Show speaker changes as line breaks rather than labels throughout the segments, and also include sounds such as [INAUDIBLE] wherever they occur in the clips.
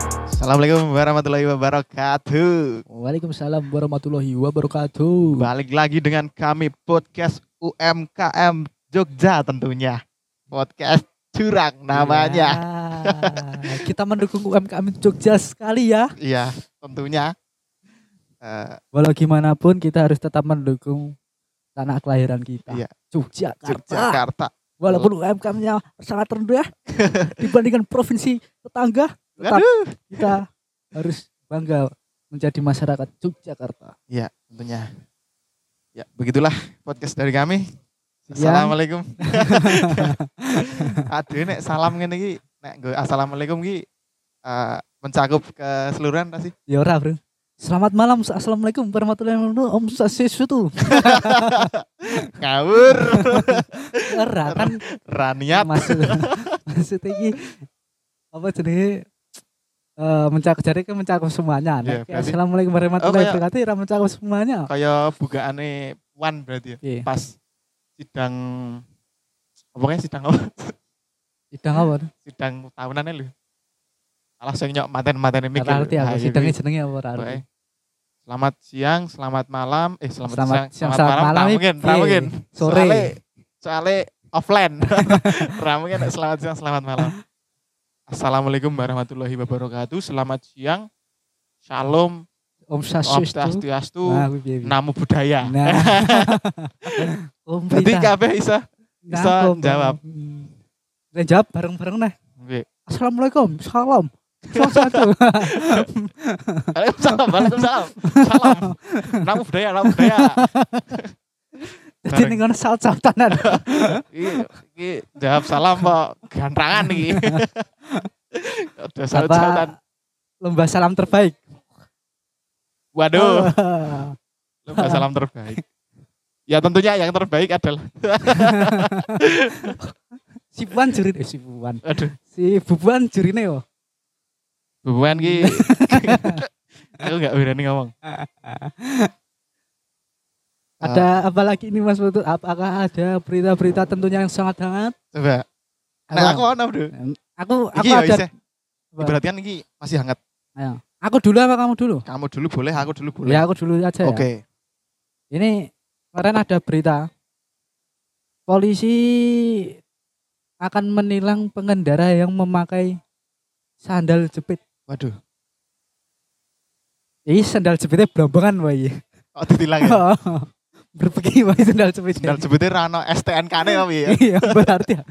Assalamualaikum warahmatullahi wabarakatuh.
Waalaikumsalam warahmatullahi wabarakatuh.
Balik lagi dengan kami podcast UMKM Jogja tentunya. Podcast curang namanya.
Ya, kita mendukung UMKM Jogja sekali ya.
Iya, tentunya. Eh,
Walau gimana pun kita harus tetap mendukung tanah kelahiran kita.
Iya.
Jogja, Jakarta.
Yogyakarta.
Walaupun UMKM-nya sangat
[LAUGHS]
rendah ya, dibandingkan provinsi tetangga, tetap
Aduh.
kita harus bangga menjadi masyarakat Yogyakarta.
Iya, tentunya. Ya, begitulah podcast dari kami.
Iya.
Assalamualaikum. Aduh, nek salam ngene iki, nek nggo assalamualaikum iki eh, mencakup keseluruhan ta sih?
Ya ora, Bro. Selamat malam. Assalamualaikum warahmatullahi wabarakatuh. Om
[LAUGHS]
Sasisu.
Ngawur.
Ora kan
Raniat.
maksud maksudnya ini apa jenenge eh mencakup jadi kan mencakup
Iya,
semuanya. Nah, kayak
berarti-
Assalamualaikum
Oh,
warahmatullahi
kayak-
wabarakatuh. Ra mencakup semuanya.
Kayak bukaane Wan berarti ya.
Iya.
Pas sidang apa kayak sidang apa? [LAUGHS]
Sidang apa?
Sidang tahunannya lho. Alah sing nyok maten-matene mikir.
Ora ngerti aku
Ah, iya,
sidangnya
iya.
jenenge apa ora ngerti.
Pokoknya, Selamat siang, selamat malam, eh selamat,
Selamat
siang,
siang,
selamat,
selamat
malam,
malam,
tak mungkin, tak
iya.
mungkin.
Sore.
Soale, soale offline. [LAUGHS] Ramu kan selamat siang, selamat malam. Assalamualaikum warahmatullahi wabarakatuh. Selamat siang. Shalom,
Om
Om
Sasisu.
Swastiastu,
Nah, kuwi piye, piye.
Namo Buddhaya. [LAUGHS]
Nah. Om
Jadi
Prita.
kabeh iso.
Nah,
bisa
Om.
jawab.
Hmm. Nah, jawab bareng-bareng nah.
Nggih.
Assalamualaikum. Salam. Salam satu.
Waalaikumsalam, waalaikumsalam. Salam. Namo Buddhaya, Namo Buddhaya.
Jadi ning ngono
[LAUGHS]
saut-sautan. ada.
Iki iki jawab salam kok gantangan iki. Udah saut-sautan.
Apa lomba salam terbaik.
Waduh, lomba salam terbaik. Ya tentunya yang terbaik adalah
[LAUGHS] si Puan juri eh, si Puan
aduh
si Bubuan jurine yo
Bukan ki. aku gak berani ngomong. Ah. Eh,
ada apa lagi ini Mas Putut apakah ada berita-berita tentunya yang sangat hangat
Coba. Nah, aku ono, Bro.
Em, aku aku
Iki ya
ada
isih.
Apa?
Berarti kan iki masih hangat.
Ayo. aku dulu apa kamu dulu
Kamu dulu boleh, aku dulu
ya
boleh.
aku dulu aja ya
Oke.
ini kemarin ada berita polisi akan menilang pengendara yang memakai sandal jepit
Waduh.
Ih, sandal jepitnya belambangan wae.
Oh, ditilang ya.
[LAUGHS] Berbegi wae sandal jepit.
Sendal jepitnya rano STNK-ne apa ya?
Iya, berarti ya.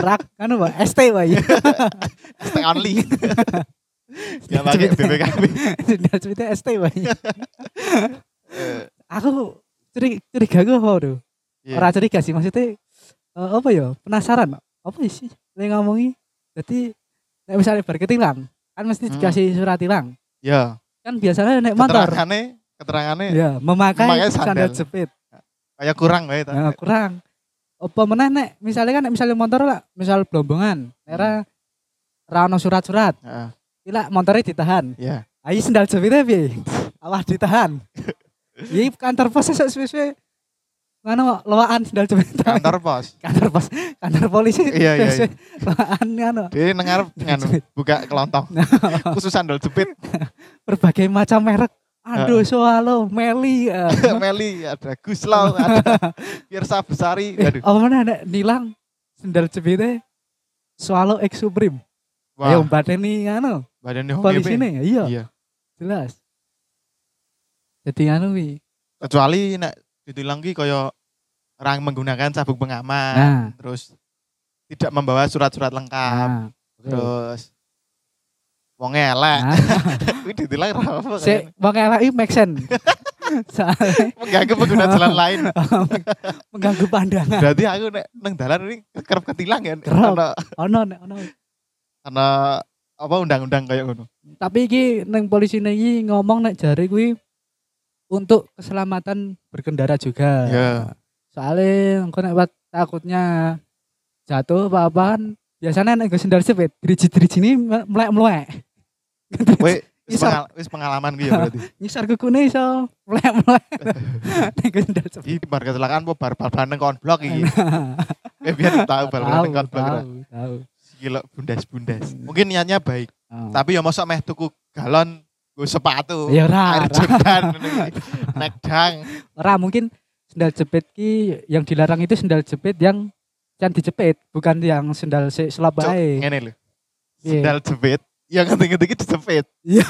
Rak kan apa? ST wae.
ST only. Ya pakai BPKB.
Sendal jepitnya ST wae. Aku curiga, curiga gue apa tuh?
Eh, Iya.
Orang curiga sih maksudnya eh, apa ya? Penasaran apa sih? Lagi ngomongi. Jadi nek misalnya bar ketilang, kan mesti
Hmm.
dikasih surat tilang.
Ya,
Kan biasanya naik motor.
keterangannya keterangannya
Ya, memakai,
Memakai sandal.
sandal jepit.
kayak kurang wae ta.
Nah, kurang. Apa meneh nek misalnya kan nek misalnya motor lah, misal blombongan, era ra ono surat-surat,
Heeh.
Ila motornya ditahan.
Ya.
Ayo sendal jepitnya piye? Alah
[LAUGHS]
ditahan. Iya kantor pos sesuk suwe-suwe. Ngono lowaan sendal jepit.
Kantor pos.
kantor pos, kantor polisi.
Iya, iya,
[LAUGHS] suwe-suwe Lowaan ngono.
Dia nengar nganu buka kelontong. Khusus sandal jepit. [LAUGHS]
Berbagai macam merek. Aduh,
Ah.
Soalo, Meli. eh.
Meli, ada Guslau, ada Pirsa Besari.
Eh,
[LAUGHS] Aduh.
Apa mana nek nilang sendal jepitnya? Soalo X Supreme. Ayo
Wah,
bateni ngono.
badannya Hong
polisi
Gepeng.
nih iya
Iya.
jelas jadi anu wi
Kecuali nek ditilang ki kaya orang menggunakan sabuk pengaman,
nah,
terus tidak membawa surat-surat lengkap,
nah
terus wong elek. [LAUGHS]
nah
Kuwi ditilang ra apa kan?
si bang Ella ini
[LAUGHS]
make sense soalnya
Mengganggu pengguna
[LAUGHS]
jalan lain.
mengganggu pandangan
Berarti aku nek nang dalan ini kerep ketilang ya.
Kerep.
Karena
ono nek ono
karena apa undang-undang kayak
[LAUGHS]
ngono.
tapi iki neng polisi ini ngomong nek jari kuwi untuk keselamatan berkendara juga
Iya.
soalnya engko nek wat takutnya jatuh apa apaan biasanya nek nggo sendal jepit driji driji ini melek melek
Woi, wis
Iso.
pengal- wis pengalaman gue ya
[LAUGHS]
berarti.
nyisar kukune iso melek melek
[LAUGHS]
nek nggo sendal jepit
Iki bar kecelakaan apa bar balanan kon blok
[LAUGHS]
iki. Eh biar tahu bal-balan kon blok.
tahu. Hmm.
Gila bundas-bundas. Mungkin niatnya baik.
Ah, Oh.
Tapi ya mosok meh tuku galon gue sepatu.
Ya ora.
Air
ora. [LAUGHS]
Jordan ngono kuwi. nek dang.
Ora mungkin sendal jepit ki yang dilarang itu sendal jepit yang yang dijepit, bukan yang sendal sik selap
Cuk,
bae.
Ngene lho.
Piye?
Sendal jepit, Iya, kan, yang ngerti-ngerti iki dijepit.
Iya.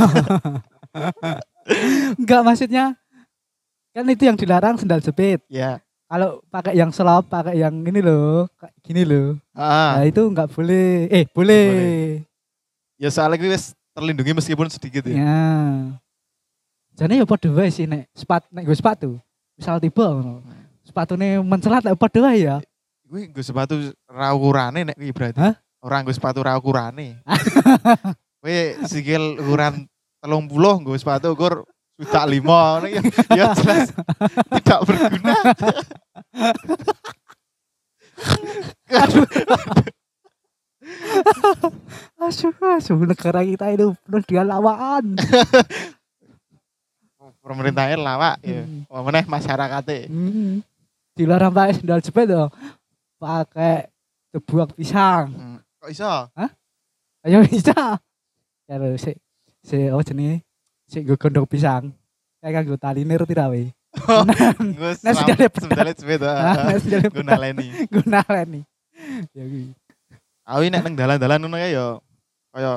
Enggak maksudnya kan itu yang dilarang sendal jepit.
Ya.
Kalau pakai yang selap, pakai yang ini loh, kayak gini loh.
Heeh.
Nah, itu enggak boleh. Eh, boleh.
Ya soalnya kuwi wis terlindungi meskipun sedikit ya.
Ya. Jadi ya padha wae sih nek sepat nek gue sepatu. Misal tiba ngono. Sepatune mencelat nek padha wae ya.
Gue gue sepatu ra ukurane nek kuwi berarti.
Hah?
Orang gue sepatu ra
[LAUGHS]
ukurane. Gue sikil ukuran telung puluh gue sepatu ukur juta lima ngono ya, ya jelas tidak berguna.
Asuh, asuh negara kita itu penuh dengan lawan.
Pemerintahnya lawak ya.
Hmm.
Apa meneh masyarakatnya.
Hmm. Dilarang pakai sendal jepit loh. Pakai tebuak pisang.
Hmm. Kok iso?
Ayo bisa. Ya lo si si oh jenis si gue gondok pisang. Kayak kan gue talinir tidak
Gue
we. Nah,
selam-
sudah ada pedang.
sendalnya jepit.
Nah, sendal
Gue
pedang.
naleni.
Guna leni. Ya gue.
Awi nek nang dalan-dalan ngono ya ya kaya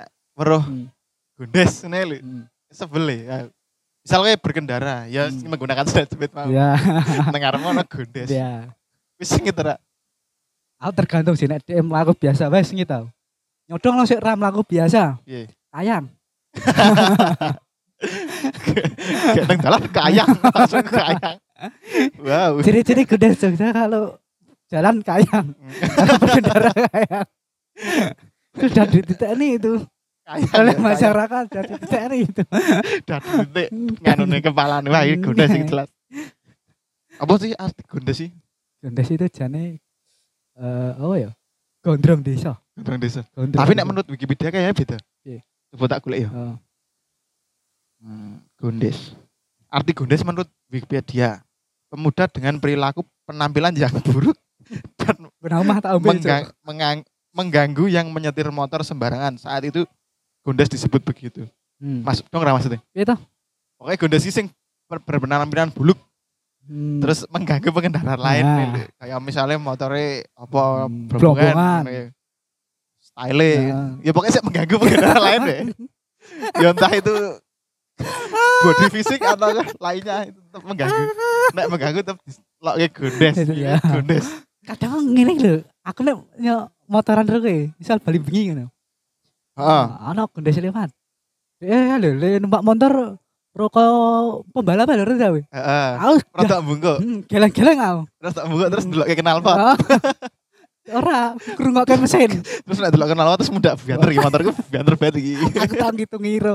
eh, weruh
Hmm.
gondes ngene lho.
Hmm.
Sebel ya. Misal kowe berkendara ya
Hmm.
menggunakan sandal jepit mau. [LAUGHS]
Ya,
Nang ngarep ono gondes.
ya.
Wis sing ora.
Aku tergantung sih nek DM laku biasa wes ngi tau. Nyodong lo sik ram laku biasa.
Piye? [LAUGHS]
Ayam.
Kayak nang dalan kayang, [LAUGHS] langsung kayang. Wow.
Ciri-ciri gede Jogja kalau jalan kayang,
[LAUGHS]
kalau berkendara kayang. Sudah dititeni itu
ya,
oleh
[LAUGHS]
masyarakat sudah dititeni itu.
Dadene nganune kepalane wah iki gondes
Iya.
iki jelas. Apa sih arti gondes sih?
Gondes itu jane eh apa ya? Gondrong desa.
Gondrong desa.
Gondrong
Tapi
desa.
nek menurut Wikipedia kayaknya beda.
Piye?
Coba tak golek ya.
Oh,
Hmm, Gondes. Arti gondes menurut Wikipedia, pemuda dengan perilaku penampilan yang buruk dan
Kena omah tak ambil.
menggang- mengang- mengganggu yang menyetir motor sembarangan. Saat itu gondes disebut begitu.
Mas.
Mas, dong nggak maksudnya?
Iya Hmm. toh?
Pokoknya gondes sih sing ber- berpenampilan buluk
Hmm.
terus mengganggu pengendara lain
Nah.
nih. kayak misalnya motornya apa
Hmm,
berhubungan
blongkongan.
style
Nah.
ya pokoknya saya mengganggu pengendara lain deh ya entah itu body fisik atau lainnya itu tetap mengganggu nek mengganggu tetap kayak
[LAUGHS]
gondes
Iya.
gondes
kadang ngene lho, aku nek nyok motoran terus kowe, misal bali bengi ngono. Ah,
Heeh.
Ana gondes lewat. Eh lho, le numpak motor rokok pembalap lho ta kowe.
heeh
Aku
terus tak bungkuk
Hmm, geleng-geleng aku.
terus tak bungkuk terus delok kayak kenal pot
Oh. [LAUGHS] Ora, krungokke mesin.
terus nek delok kenal pot terus muda
[LAUGHS]
banter iki motorku banter banget iki
Aku tak ngitung ngiro.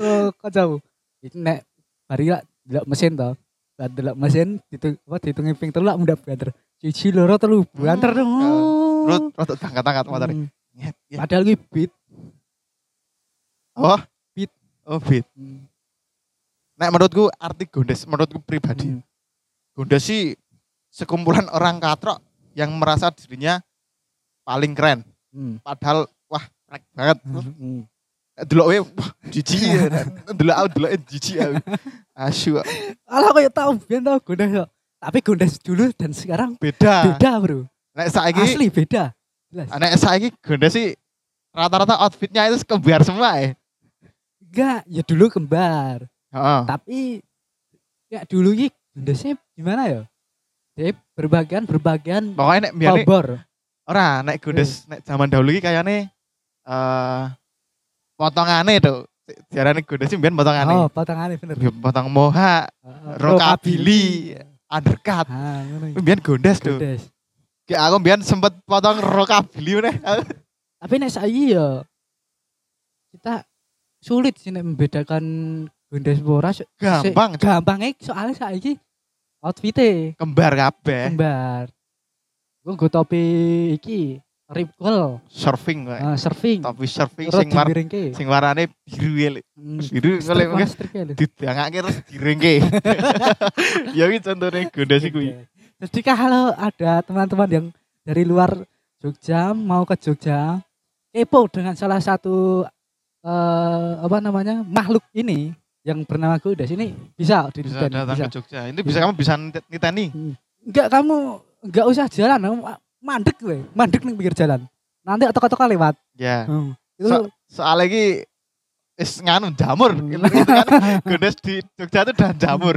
Tuh, kok jauh. Iki nek bari lak delok mesin to. Lah delok mesin ditu apa ditungi ping telu lak mundhak banter. Siji loro telu banter tuh.
terus terus angkat-angkat motor
Hmm.
Nyet, nyet.
Padahal kuwi beat.
oh
Beat.
oh beat
Hmm.
Nek menurutku arti gondes, menurutku pribadi.
Hmm.
Gondes sih sekumpulan orang katrok yang merasa dirinya paling keren.
Hmm.
Padahal wah rek banget.
Hmm. Iya.
Delok we wah jijik. ya. Delok aku delok jijik aku. Asu kok.
Alah kok ya tau biyen tau gondes kok. Tapi gondes dulu dan sekarang
beda.
beda, Bro.
Nek saiki
Asli beda. Jelas.
nek saiki gondes sih rata-rata outfitnya itu kebiar semua ya.
Enggak, ya dulu kembar.
Heeh.
tapi ya dulu ini Indonesia gimana ya jadi berbagian berbagian
Pokoknya nek biar
obor
ora nek
Hmm.
gondes nek zaman dahulu iki kayaknya eh potongane tuh. Jarane gondes sih biar potongane.
oh potongannya bener
Ya, potong moha, rockabilly, undercut.
ah ngono iki.
Mbiyen gondes tuh.
Gondes.
Kayak aku mbiyen sempet potong rockabilly meneh.
tapi nek saiki ya kita sulit sih nek membedakan gondes ora Se-
Gampang, Cuk.
gampangnya soalnya saiki outfitnya
kembar kabeh.
kembar gue gue topi iki rip curl
Surfing wae.
eh, surfing
Tapi surfing
terus
sing war
dibiringke
sing warnane biru ya. Lek.
Hmm,
Terus Biru
strip
kali
lah,
mungkin
stripnya lho.
didangake terus
[LAUGHS]
direngke. ya iki contohnya gondes iku.
Oke. Gitu ya. Jadi kan kalau ada teman-teman yang dari luar Jogja mau ke Jogja kepo dengan salah satu eh, apa namanya makhluk ini yang bernama kuda sini bisa di
bisa
Tuban,
datang
bisa. Iya.
ke Jogja. Itu bisa kamu bisa nit- niteni.
Enggak kamu enggak usah jalan, kamu mandek gue, mandek nih pinggir jalan. Nanti otok-otok lewat.
Ya.
Hmm. Itu
So- Soalnya iki is nganu jamur.
Hmm.
Itu kan Gondes di Jogja itu dan
[LAUGHS]
jamur.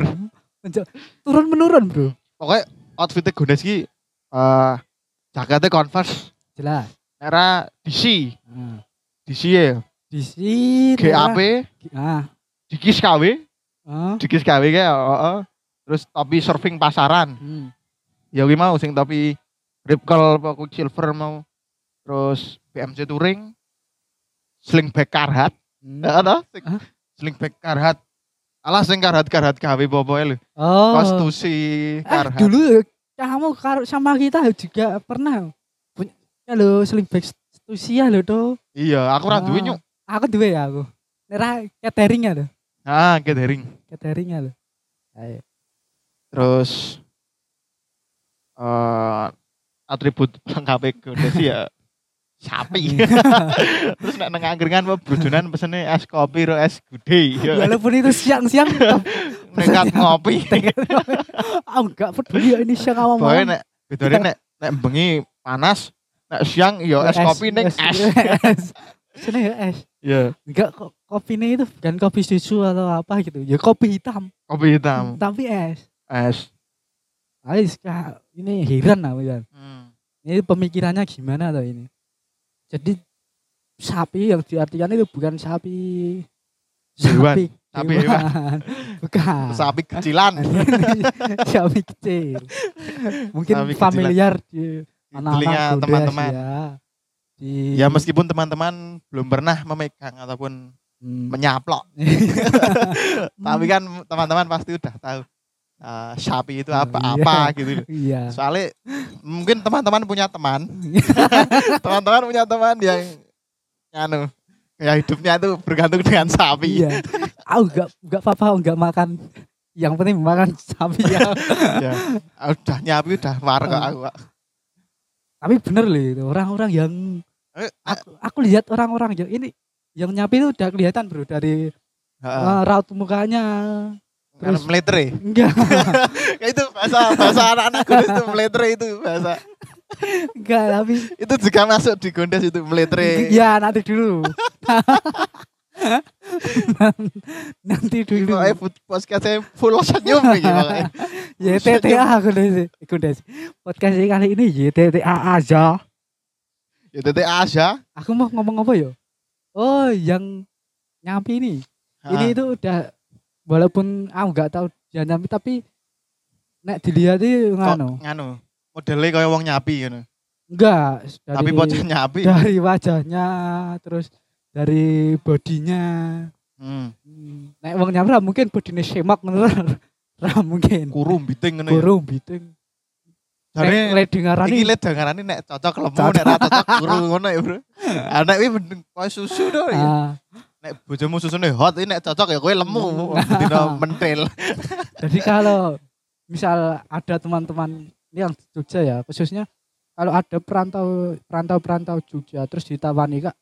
Menja- turun menurun, Bro.
Pokoknya outfitnya Gondes iki eh jaketnya Converse
Jelas.
era DC,
Hmm.
DC ya.
Di sini lah.
GAP,
Ah.
Dikis KW,
ah,
Dikis KW kayak heeh. Terus topi surfing pasaran.
hmm.
Ya kuwi mau sing topi rip curl apa kuwi silver mau. Terus BMC touring, slingback Carhartt
Hmm.
Nggak ada sing,
Hah?
sling back karhat. Alah sing karhat karhat gawe popoke ya lho.
Oh.
Konstitusi
Eh,
karhat.
dulu kamu karo- sama kita ya juga pernah punya ya lo sling bag stusia lo tuh.
Iya, aku ora duwe
Ah.
nyuk.
ya Aku duwe ya aku. Nera cateringnya lo,
Ah, gathering.
cateringnya lo. Ayo.
Terus eh atribut lengkapnya Gondes ya sapi.
Iya.
[LAUGHS] Terus nek nang angkringan apa brujunan pesene es kopi ro es gude. Ya
Walaupun itu siang-siang
nekat [LAUGHS] ngopi.
aku enggak peduli ya ini siang awam.
Pokoke nek bedone nek nek bengi panas, nek siang ya es kopi ning es.
[LAUGHS] Sini ya es.
Iya,
Enggak ko- kopinya itu bukan kopi susu atau apa gitu. Ya kopi hitam,
kopi hitam,
tapi es.
es.
Ais, Kak, ini heran aku ya.
Hmm.
ini pemikirannya gimana tuh ini jadi sapi yang diartikan itu bukan sapi
Hewan.
sapi
Sapi hewan.
hewan. bukan [LAUGHS]
Sapi kecilan.
sapi kecil mungkin
Sapi kecilan.
familiar di
telinga
anak-anak Gondes
teman-teman.
ya di
Ya meskipun teman-teman belum pernah memegang ataupun
Hmm.
menyaplok, [LAUGHS] tapi kan teman-teman pasti udah tahu eh, sapi itu
Oh, iya.
apa-apa [LAUGHS] gitu. loh.
iya
Soalnya mungkin teman-teman punya
[LAUGHS]
teman, teman-teman punya teman yang anu ya hidupnya itu bergantung dengan sapi.
iya aku enggak enggak apa-apa enggak makan yang penting makan sapi ya
[LAUGHS] Ya. Udah nyapi udah marah kok
Oh.
aku. Pak.
tapi bener loh itu, orang-orang yang
Eh,
aku, aku lihat orang-orang yang ini yang nyapi itu udah kelihatan bro dari
Heeh.
eh, raut mukanya
Anu,
terus-
meletre.
enggak
Kayak [LAUGHS] itu bahasa bahasa anak-anak Gondes itu meletre itu bahasa.
enggak tapi
Itu juga masuk di Gondes itu meletre.
ya nanti dulu nanti
Ini
dulu
pokoknya pod- podcastnya full senyum
[LAUGHS]
iki pokoknya.
Ya, YTTA aku desi aku desi podcast ini kali ini ya, YTTA aja
Ya Tete Asia.
aku mau ngomong apa yo oh yang nyapi ini
Ah.
ini itu udah walaupun aku nggak tahu dia nyapi tapi nek dilihat itu ngano
Nganu. Modelnya kayak wong nyapi ngono.
enggak dari,
Tapi bocah nyapi.
dari wajahnya terus dari bodinya
Hmm.
Hmm, nek wong nyapi lah mungkin bodine semak ngono lah. Lah mungkin
Kuru biting ngono. ya.
burung biting nek
Jare
lek dengarani
iki le dengarane nek cocok lemu
Cocok.
nek ra cocok kuru ngono ya, [LAUGHS] Bro. Anak iki mending koyo susu to. ya.
ah,
Nek bojomu susune hot iki nek cocok ya kowe lemu. [LAUGHS] Dino mentil.
jadi kalau misal ada teman-teman ini yang di Jogja ya khususnya kalau ada perantau perantau perantau Jogja terus ditawani kak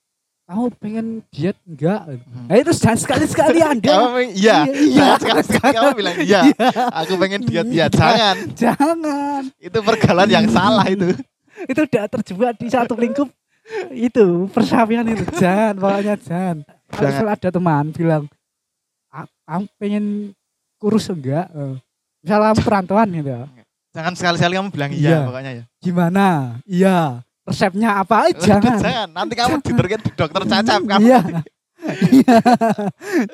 kamu pengen diet enggak
Hmm.
Eh terus jangan sekali-sekali Anda.
Kamu iya.
iya,
Jangan sekali kamu [LAUGHS] bilang
[LAUGHS]
iya. Aku pengen diet-diet jangan.
Iya, Jangan.
Itu pergaulan yang salah itu.
Itu udah terjebak di satu lingkup itu persapian itu jangan pokoknya jangan. Kalau
Jangan.
misal ada teman bilang "A- kamu pengen kurus enggak? Eh, Misal kamu perantauan gitu. ya.
Jangan sekali-sekali kamu bilang
Iya.
iya pokoknya ya.
Gimana? Iya. Resepnya apa? Eh,
[LAUGHS] jangan.
jangan.
Nanti kamu diterkin di dokter cacap kamu.
Iya. Iya.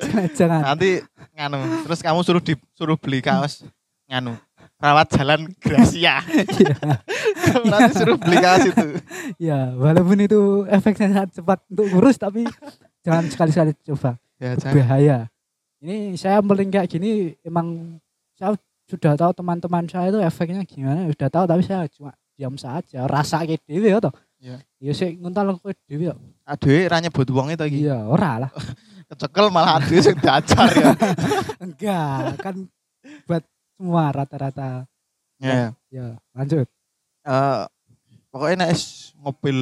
Jangan, jangan.
Nanti nganu. Terus kamu suruh disuruh beli kaos nganu. Rawat jalan Gracia. Kamu Nanti suruh beli kaos itu.
Ya, walaupun itu efeknya sangat cepat untuk kurus tapi jangan sekali-sekali coba.
Ya jangan.
bahaya. Ini saya paling kayak gini emang saya sudah tahu teman-teman saya itu efeknya gimana ya sudah tahu tapi saya cuma diam saja rasa kayak dewi ya toh
Iya.
ya sih ngontal aku dewi ya
Aduh, ra nyebut uang itu lagi.
iya ora lah
Kecekel malah aduh sing dajar ya.
[LAUGHS] enggak kan buat semua rata-rata
Ya. ya.
ya lanjut
Eh, pokoknya nek es mobil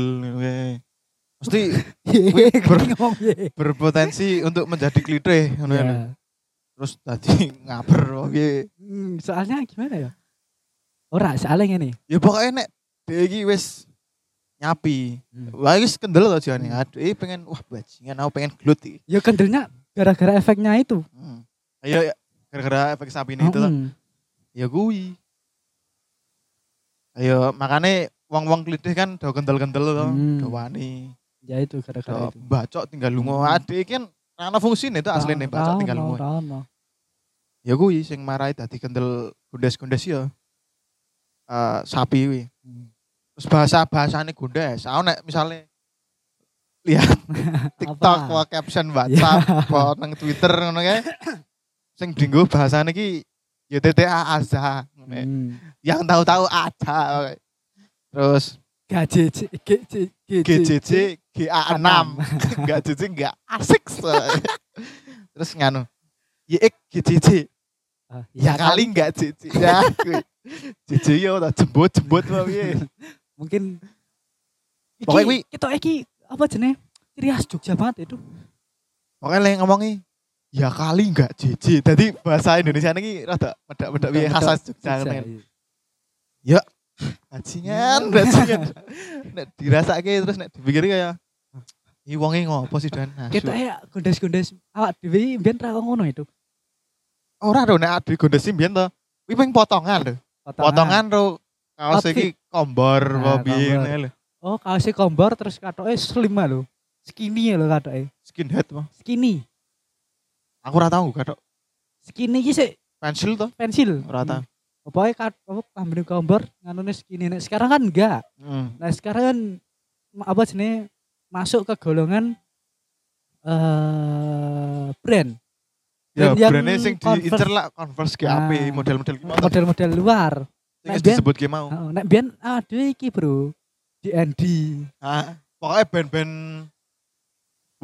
Mesti
[LAUGHS] Ye,
ber-
ngomong ya? ye.
berpotensi untuk menjadi klitih ngono ya.
Ya.
Terus tadi ngaper oke.
Hmm, soalnya gimana ya? Ora, soalnya ngene.
Ya pokoknya nek dia iki wis nyapi.
Hmm.
Wah wis kendel to jane. Aduh, eh, pengen wah bajingan aku pengen gelut iki.
Ya kendelnya gara-gara efeknya itu. Hmm.
Hmm. Ayo ya, gara-gara efek sapi ini itu toh.
Mm-mm.
ya kui. Ayo makanya wong-wong klitih kan do kendel-kendel to,
Hmm.
do wani.
Ya itu gara-gara
Do
itu.
bacok tinggal lunga.
Hmm.
Adik iki kan ana fungsine itu asline bacok
Ra-
tinggal
ra-
lunga.
ra- ra-
Ya kui sing marai dadi kendel gondes-gondes ya. Eh, sapi kuwi.
Hmm.
Terus bahasa-bahasane gondes. Aku nek misale
[LAUGHS]
lihat TikTok,
Apa? Iya.
wah
[LAUGHS]
caption WhatsApp, wah nang Twitter ngono kae. Sing dienggo bahasane iki ya TTA aja ngono kae.
Hmm.
yang tahu-tahu ada oke. terus
GJJ GJJ
GJJ GA6
Enam.
[LAUGHS] enggak JJ enggak asik
[LAUGHS]
soalnya. terus nganu YX GJJ
Ah,
ya kali enggak JJ [LAUGHS] ya kuwi. JJ ya udah jembut-jembut mau piye
mungkin
Pokoknya
Iki- kita iki apa jenenge ciri khas Jogja banget itu
pokoknya lagi ngomongi ya kali enggak JJ tadi bahasa Indonesia ini rada medak-medak piye
Medak-medak
khas Jogja
Jogja,
ngono.
iya.
[LAUGHS] bajingan bajingan nek dirasake terus nek dipikir kayak Ih wonge ngopo sih Dan? Nah, Asu.
kita ya gondes-gondes awak dhewe mbiyen ra ngono itu
Ora lho nek adu gondesi mbiyen to. Kuwi ping potongan lho. Potongan ro kaos
Outfit.
iki kombor apa
Nah,
piye
kombor.
ngene lho.
oh kaosnya kombor terus katoke slim lho skinny lho katoke
Skinhead mah.
skinny
Aku ora tau katok
skinny iki sik
pensil to
pensil
ora tau.
Hmm. pokoknya kat- apa pambene kombor nganune skinny nek sekarang kan enggak
Heeh.
Nah sekarang kan ma- apa jenis masuk ke golongan eh brand
Ya
Dan yang
brandnya sing
Converse.
diincer lah Converse GAP
Nah.
model-model ki mau to.
model-model luar.
Sing
Nah,
wis
dia-
disebut ki mau.
Heeh, nek biyen aduh iki bro DND
Ah, Pokoknya band-band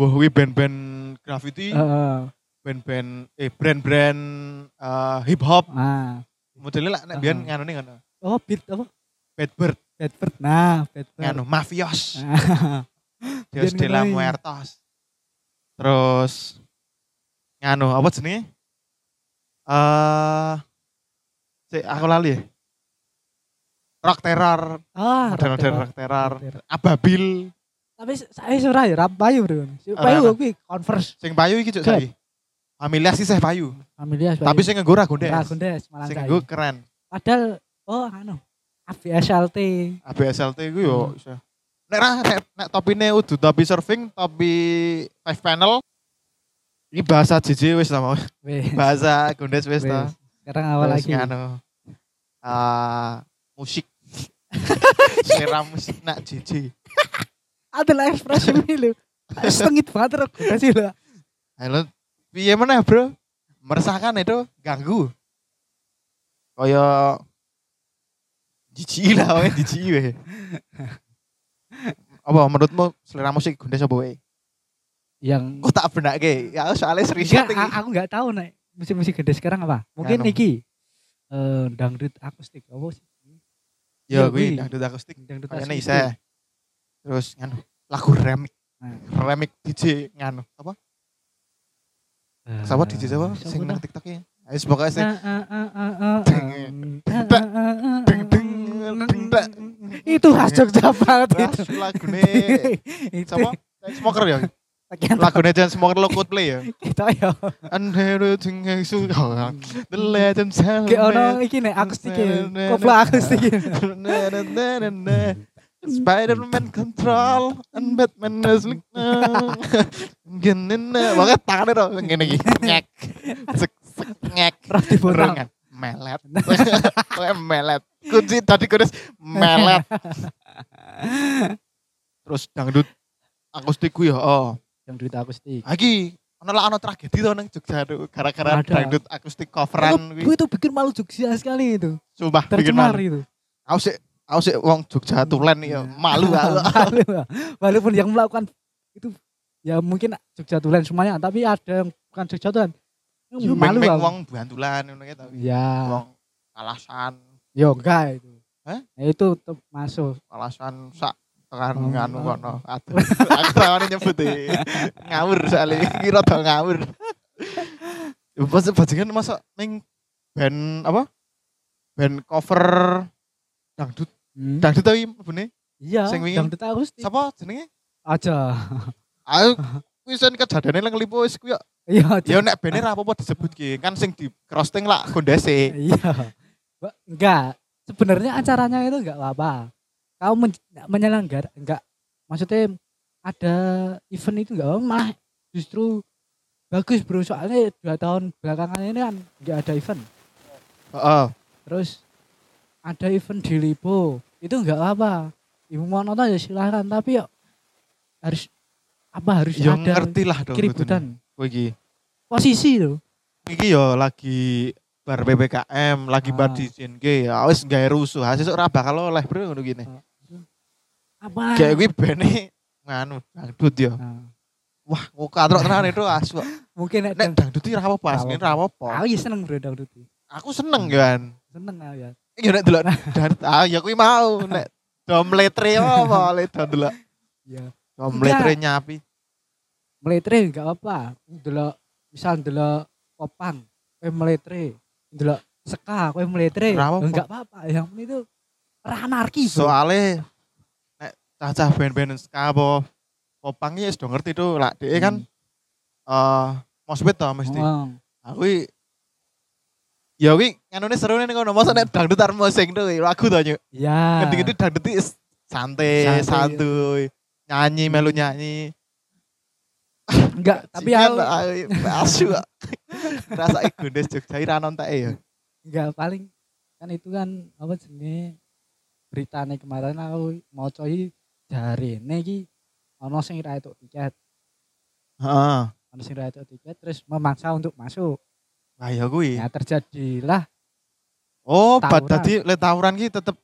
Wah, kuwi band-band graffiti,
Heeh.
band-band eh brand-brand eh, hip hop
ah
modelnya lah nek biyen
Ah.
nganu nih ngono.
oh beat apa
Bad Bird,
Bedford nah Bedford
nganu mafios.
Ah,
Dios
Biar
de la
ngerai.
Muertos. Terus nganu apa jenenge? Eh sik, aku lali ya. Rock Terror,
[LAUGHS] ah
model-model
rock,
Rock Terror,
rock, rock.
Ababil,
tapi saya surah ya rapayu bro
Ora,
rapayu kuwi converse
sing payu iki cuk saiki.
Good.
Familia sih sih payu,
familia
tapi sing nggo ra gondes.
gondes gondes malah
Sing
kayu.
nggo keren.
padahal oh anu ABSLT
ABSLT iku yo iso. Nek ra nek, nek topine udu topi surfing, topi five panel. Ini bahasa JJ wis ta mau.
weh
[LAUGHS] Bahasa gondes wis ta.
weh. sekarang awal
Terus
lagi
nganu, ah, [LAUGHS] musik. Selera musik nak jiji.
adalah [LAUGHS] ekspresi lu setengit banget aku kasih lah
Halo, piye meneh, Bro? Meresahkan itu ganggu. Kaya jiji lah wae jiji wae. Apa menurutmu selera musik gondes apa wae?
yang
Kok tak benake? Ya soalnya serius
enggak,
tinggi.
a- aku nggak tahu nih musik-musik gede sekarang apa mungkin
Anu.
Niki eh dangdut akustik apa sih
Ya
iya,
kuwi
kuwi.
dangdut akustik.
dangdut
Kayaknya
akustik
isa. Terus nganu lagu remix.
Nah.
Remix DJ nganu apa?
Eh,
Sapa DJ sapa sing
sapa
nang
tuh?
TikTok ya? Ayo pokoknya sing
Ah, ah, ah, ah, ah,
Deng,
ah,
deng,
ah, ah, ah,
deng, deng,
ah,
deng, deng. Iya.
itu khas Jogja banget
Ras
itu [LAUGHS]
lagune
itu
sama Smoker ya.
pakaian
Lagune Jan Smoker lo Coldplay ya.
kita ya
And everything is so the legends have
kayak orang iki nih akustik ya kopla akustik ya.
Spider-Man control and Batman is like gini banget tangannya dong gini gini nyek sek sek nyek
Raf dibotong.
Rengan. melet Pokoknya melet kunci tadi kudes melet terus dangdut akustik ku ya oh
dangdut akustik
lagi ono lah ono tragedi tuh nang Jogja tuh gara-gara
Ada.
dangdut akustik coveran
itu,
kuwi
itu bikin malu Jogja sekali itu
sumpah bikin
tercemar
malu
itu
aku sih aku sih wong Jogja tulen ya
Iya. [LAUGHS]
malu aku
Malu, Pak. walaupun yang melakukan itu ya mungkin Jogja Tulen semuanya tapi ada yang bukan Jogja Tulen
Yo,
malu
meng-meng
Pak.
wong bantulan ngono kae tapi
ya
wong alasan
yoga itu
Hah?
Ya, itu tetap masuk
alasan sak tekan
Oh.
nganu kono aduh aku tawane nyebut e. ngawur soalnya iki rada ngawur pas bajingan masuk ning band apa band cover dangdut
Hmm.
dangdut tapi bune
Iya,
sing wingi.
dangdut akustik.
siapa jenenge
Aja. [LAUGHS]
aku wisen kejadiannya lang lipo wis kuwi
Iya, aja.
ya nek bene ra apa-apa disebutke kan sing di crosting lah gondese
Iya. Ba- Enggak. Sebenarnya acaranya itu enggak apa-apa. Kau men menyelenggara enggak maksudnya ada event itu enggak apa-apa malah justru bagus bro soalnya dua tahun belakangan ini kan enggak ada event
heeh
terus ada event di Lipo itu enggak apa ibu mau nonton ya silahkan tapi ya harus apa harus
ya
ada
ngerti lah dong
keributan
kowe iki
posisi loh
iki yo lagi bar PPKM, lagi bar
Ah.
di JNG, ya wis gawe rusuh. Hasil ora bakal oleh bro ngono gini.
apa
Kayak kuwi bene nganu dangdut yo.
Nah,
Wah, kok katrok tenan itu asu.
[LAUGHS] mungkin nek
Nek dangdut iki ra apa-apa,
Ra
asline ra apa-apa.
aku ya seneng bro dangdut itu.
Aku seneng kan.
seneng aku ya
Ya nek
[LAUGHS]
delok dangdut, ah ya kuwi mau nek dom letre apa le dom delok.
ya
Dom
Enggak.
letre nyapi.
meletre enggak apa delok misal delok kopang kowe meletre delok seka kowe meletre
Ora apa-apa.
enggak apa-apa yang penting itu ranarki
Soale nek cacah band-band ska apa popang iki wis do ngerti tuh lah. Dhek kan eh moshpit to mesti. aku i- ya kuwi nganune seru nih ngono masa nek dangdut arep mosing tuh lagu to nyuk
ya
ngendi-ngendi dangdut i s- santai
Santai.
santuy nyanyi melu nyanyi
enggak tapi
Jingan,
aku
i- asu [LAUGHS] kok. rasa gondes Jogja i ra nonteke ya
enggak paling kan itu kan apa jenenge beritane kemarin aku mau coy dari iki ono sing ra itu tiket
heeh
ono sing ra itu tiket terus memaksa untuk masuk
wah ya kuwi
ya terjadilah
oh bad
tawuran.
dadi le tawuran ki tetep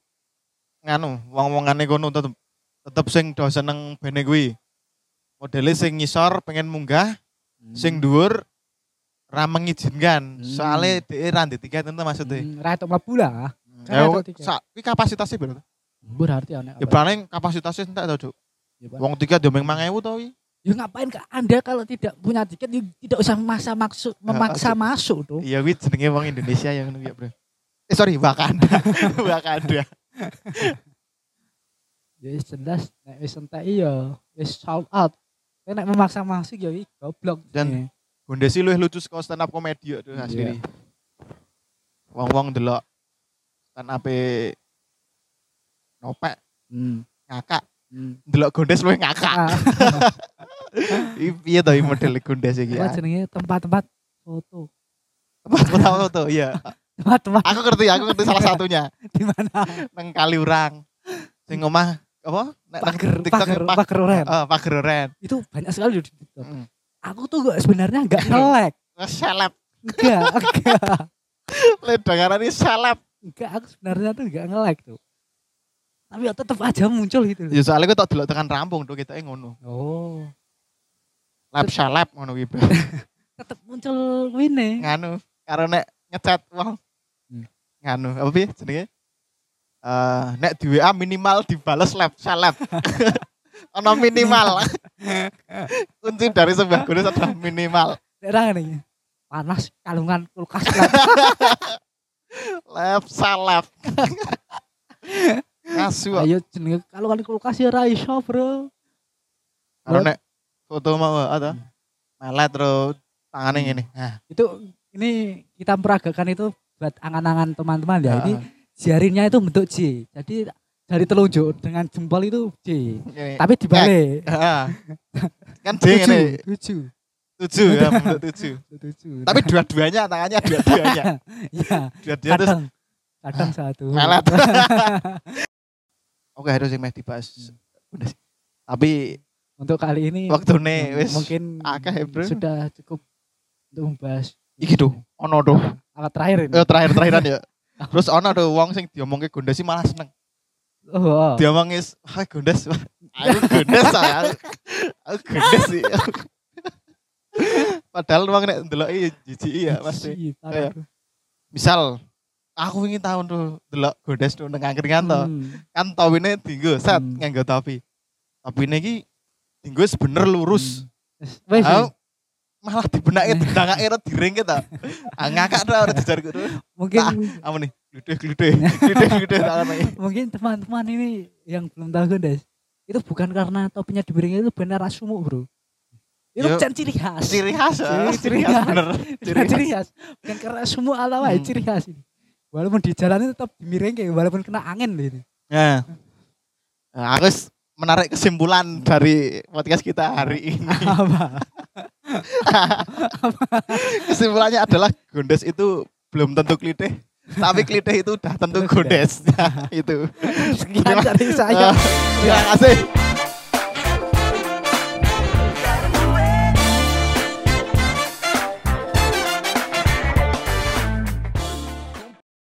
nganu wong-wongane kono tetep tetep sing do seneng bene kuwi modele sing ngisor pengen munggah sing dhuwur ra mengizinkan
Hmm.
soalnya dhek ra ndek tiket enten maksudnya
Hmm, ra itu mlebu lah
Ya,
Karena ada tiket.
sak iki kapasitasnya berapa?
berarti ana
Ya paling kapasitasnya entek to, Cuk. Wong tiket yo mung 5000 to iki.
Ya ngapain ke Anda kalau tidak punya tiket ya tidak usah memaksa maksud memaksa
maksud-
masuk tuh.
Iya kuwi jenenge wong Indonesia ya ngono ya, Bro. Eh sorry, Wakanda. [LAUGHS] Wakanda.
Ya wis jelas nek wis entek iya wis sold out. Tapi nek memaksa masuk ya wis goblok.
Dan- Gondesi luwih lucu saka stand up comedy yo
Iya.
asli. Wong-wong delok stand up nopek
Hmm,
ngakak,
hmm.
delok gondes luwih ngakak.
Ah,
Iki piye to iki model gondes iki
[LAUGHS]
ya?
apa jenenge tempat-tempat foto.
Tahu tuh, iya.
Tempat-tempat
Aku ngerti, aku ngerti salah satunya.
di mana?
Nang Kaliurang. Sing omah apa? Nek nang
Pager,
TikTok
pager,
ya,
pager oren.
Eh, pager oren.
Itu banyak sekali loh di TikTok.
Mm.
Aku tuh gak sebenarnya gak nge-lag.
Seleb,
[LAUGHS] Enggak, enggak.
ledangaran ini seleb.
Enggak, aku sebenarnya tuh gak nge-lag tuh. Tapi ya tetap aja muncul gitu loh.
Ya soalnya gue tak delok tekan rampung tuh kita ngono.
Oh.
Lab seleb ngono gitu.
tetap muncul wine
nganu, karo nek ngecat wong.
Hmm.
Nganu, apa piye jenenge? Eh, nek di WA minimal dibales lab
[LAUGHS]
seleb. ono minimal. [LAUGHS] Kunci dari sebuah gunung adalah minimal.
daerah ini panas kalungan kulkas lah
[LAUGHS] Lab
[LAUGHS]
seleb. Asu. kok.
ayo jenenge kalungan kulkas ya ra iso bro
Karo
Buat-
nek foto mau ada
Hmm.
melet terus tangannya ngene. Nah,
itu ini kita peragakan itu buat angan-angan teman-teman ya ini
ah,
jarinya itu bentuk J jadi dari telunjuk dengan jempol itu J
ngene.
tapi dibalik
Heeh. kan D ini
tujuh tujuh
tujuh ya bentuk
[LAUGHS]
tujuh.
tujuh
Tapi dua-duanya tangannya dua-duanya.
[LAUGHS] ya
Dua-duanya terus
kadang
Ah,
kadang satu
melet. Oke harus yang meh dibahas. Udah sih. Tapi
[LAUGHS] untuk kali Hmm. ini
waktune wis
mungkin
akeh, bro.
sudah cukup untuk membahas
iki tuh ono tuh.
apa terakhir ini
Eh, terakhir-terakhiran
[LAUGHS]
ya. Terus ono tuh wong sing diomongke gondes sih malah seneng.
Oh, oh.
Diomongi wah gondes.
[LAUGHS]
Wah, Aku gondes saya. [LAUGHS] Aku gondes sih. [LAUGHS] Padahal wong nek ndeloki ya jijik ya pasti.
Ih, parah,
Kayak,
bro.
misal aku ingin tahun tuh delok godes tuh neng angkringan tuh
Hmm.
kan tawine dienggo Kan set
Hmm.
nganggo topi tapi ini ki tinggu wis bener
Hmm.
lurus
Wes.
Aku malah dibenake
Eh.
dendang eret diringke ta Ah, ngakak ta ora dijarku
Mungkin
apa nih gludeh gludeh gludeh gludeh tak ngerti.
mungkin teman-teman ini yang belum tahu guys. Itu bukan karena topinya dibiring itu benar sumuk, Bro. Itu
Yo.
bukan ciri khas.
ciri khas ya.
Ciri-
ciri khas bener
Bukan ciri khas. Bukan karena semua ala wae
Hmm.
ciri khas ini. Walaupun di jalan itu tetap dimiring kayak walaupun kena angin
[LAUGHS]
gitu. loh ini.
Ya. Nah, aku s- menarik kesimpulan dari podcast kita hari
[LAUGHS]
ini.
Apa?
Kesimpulannya adalah gondes itu belum tentu klitih, tapi klitih itu udah tentu gondes. itu.
Sekian dari
Nah. Eh,
saya.
Terima kasih.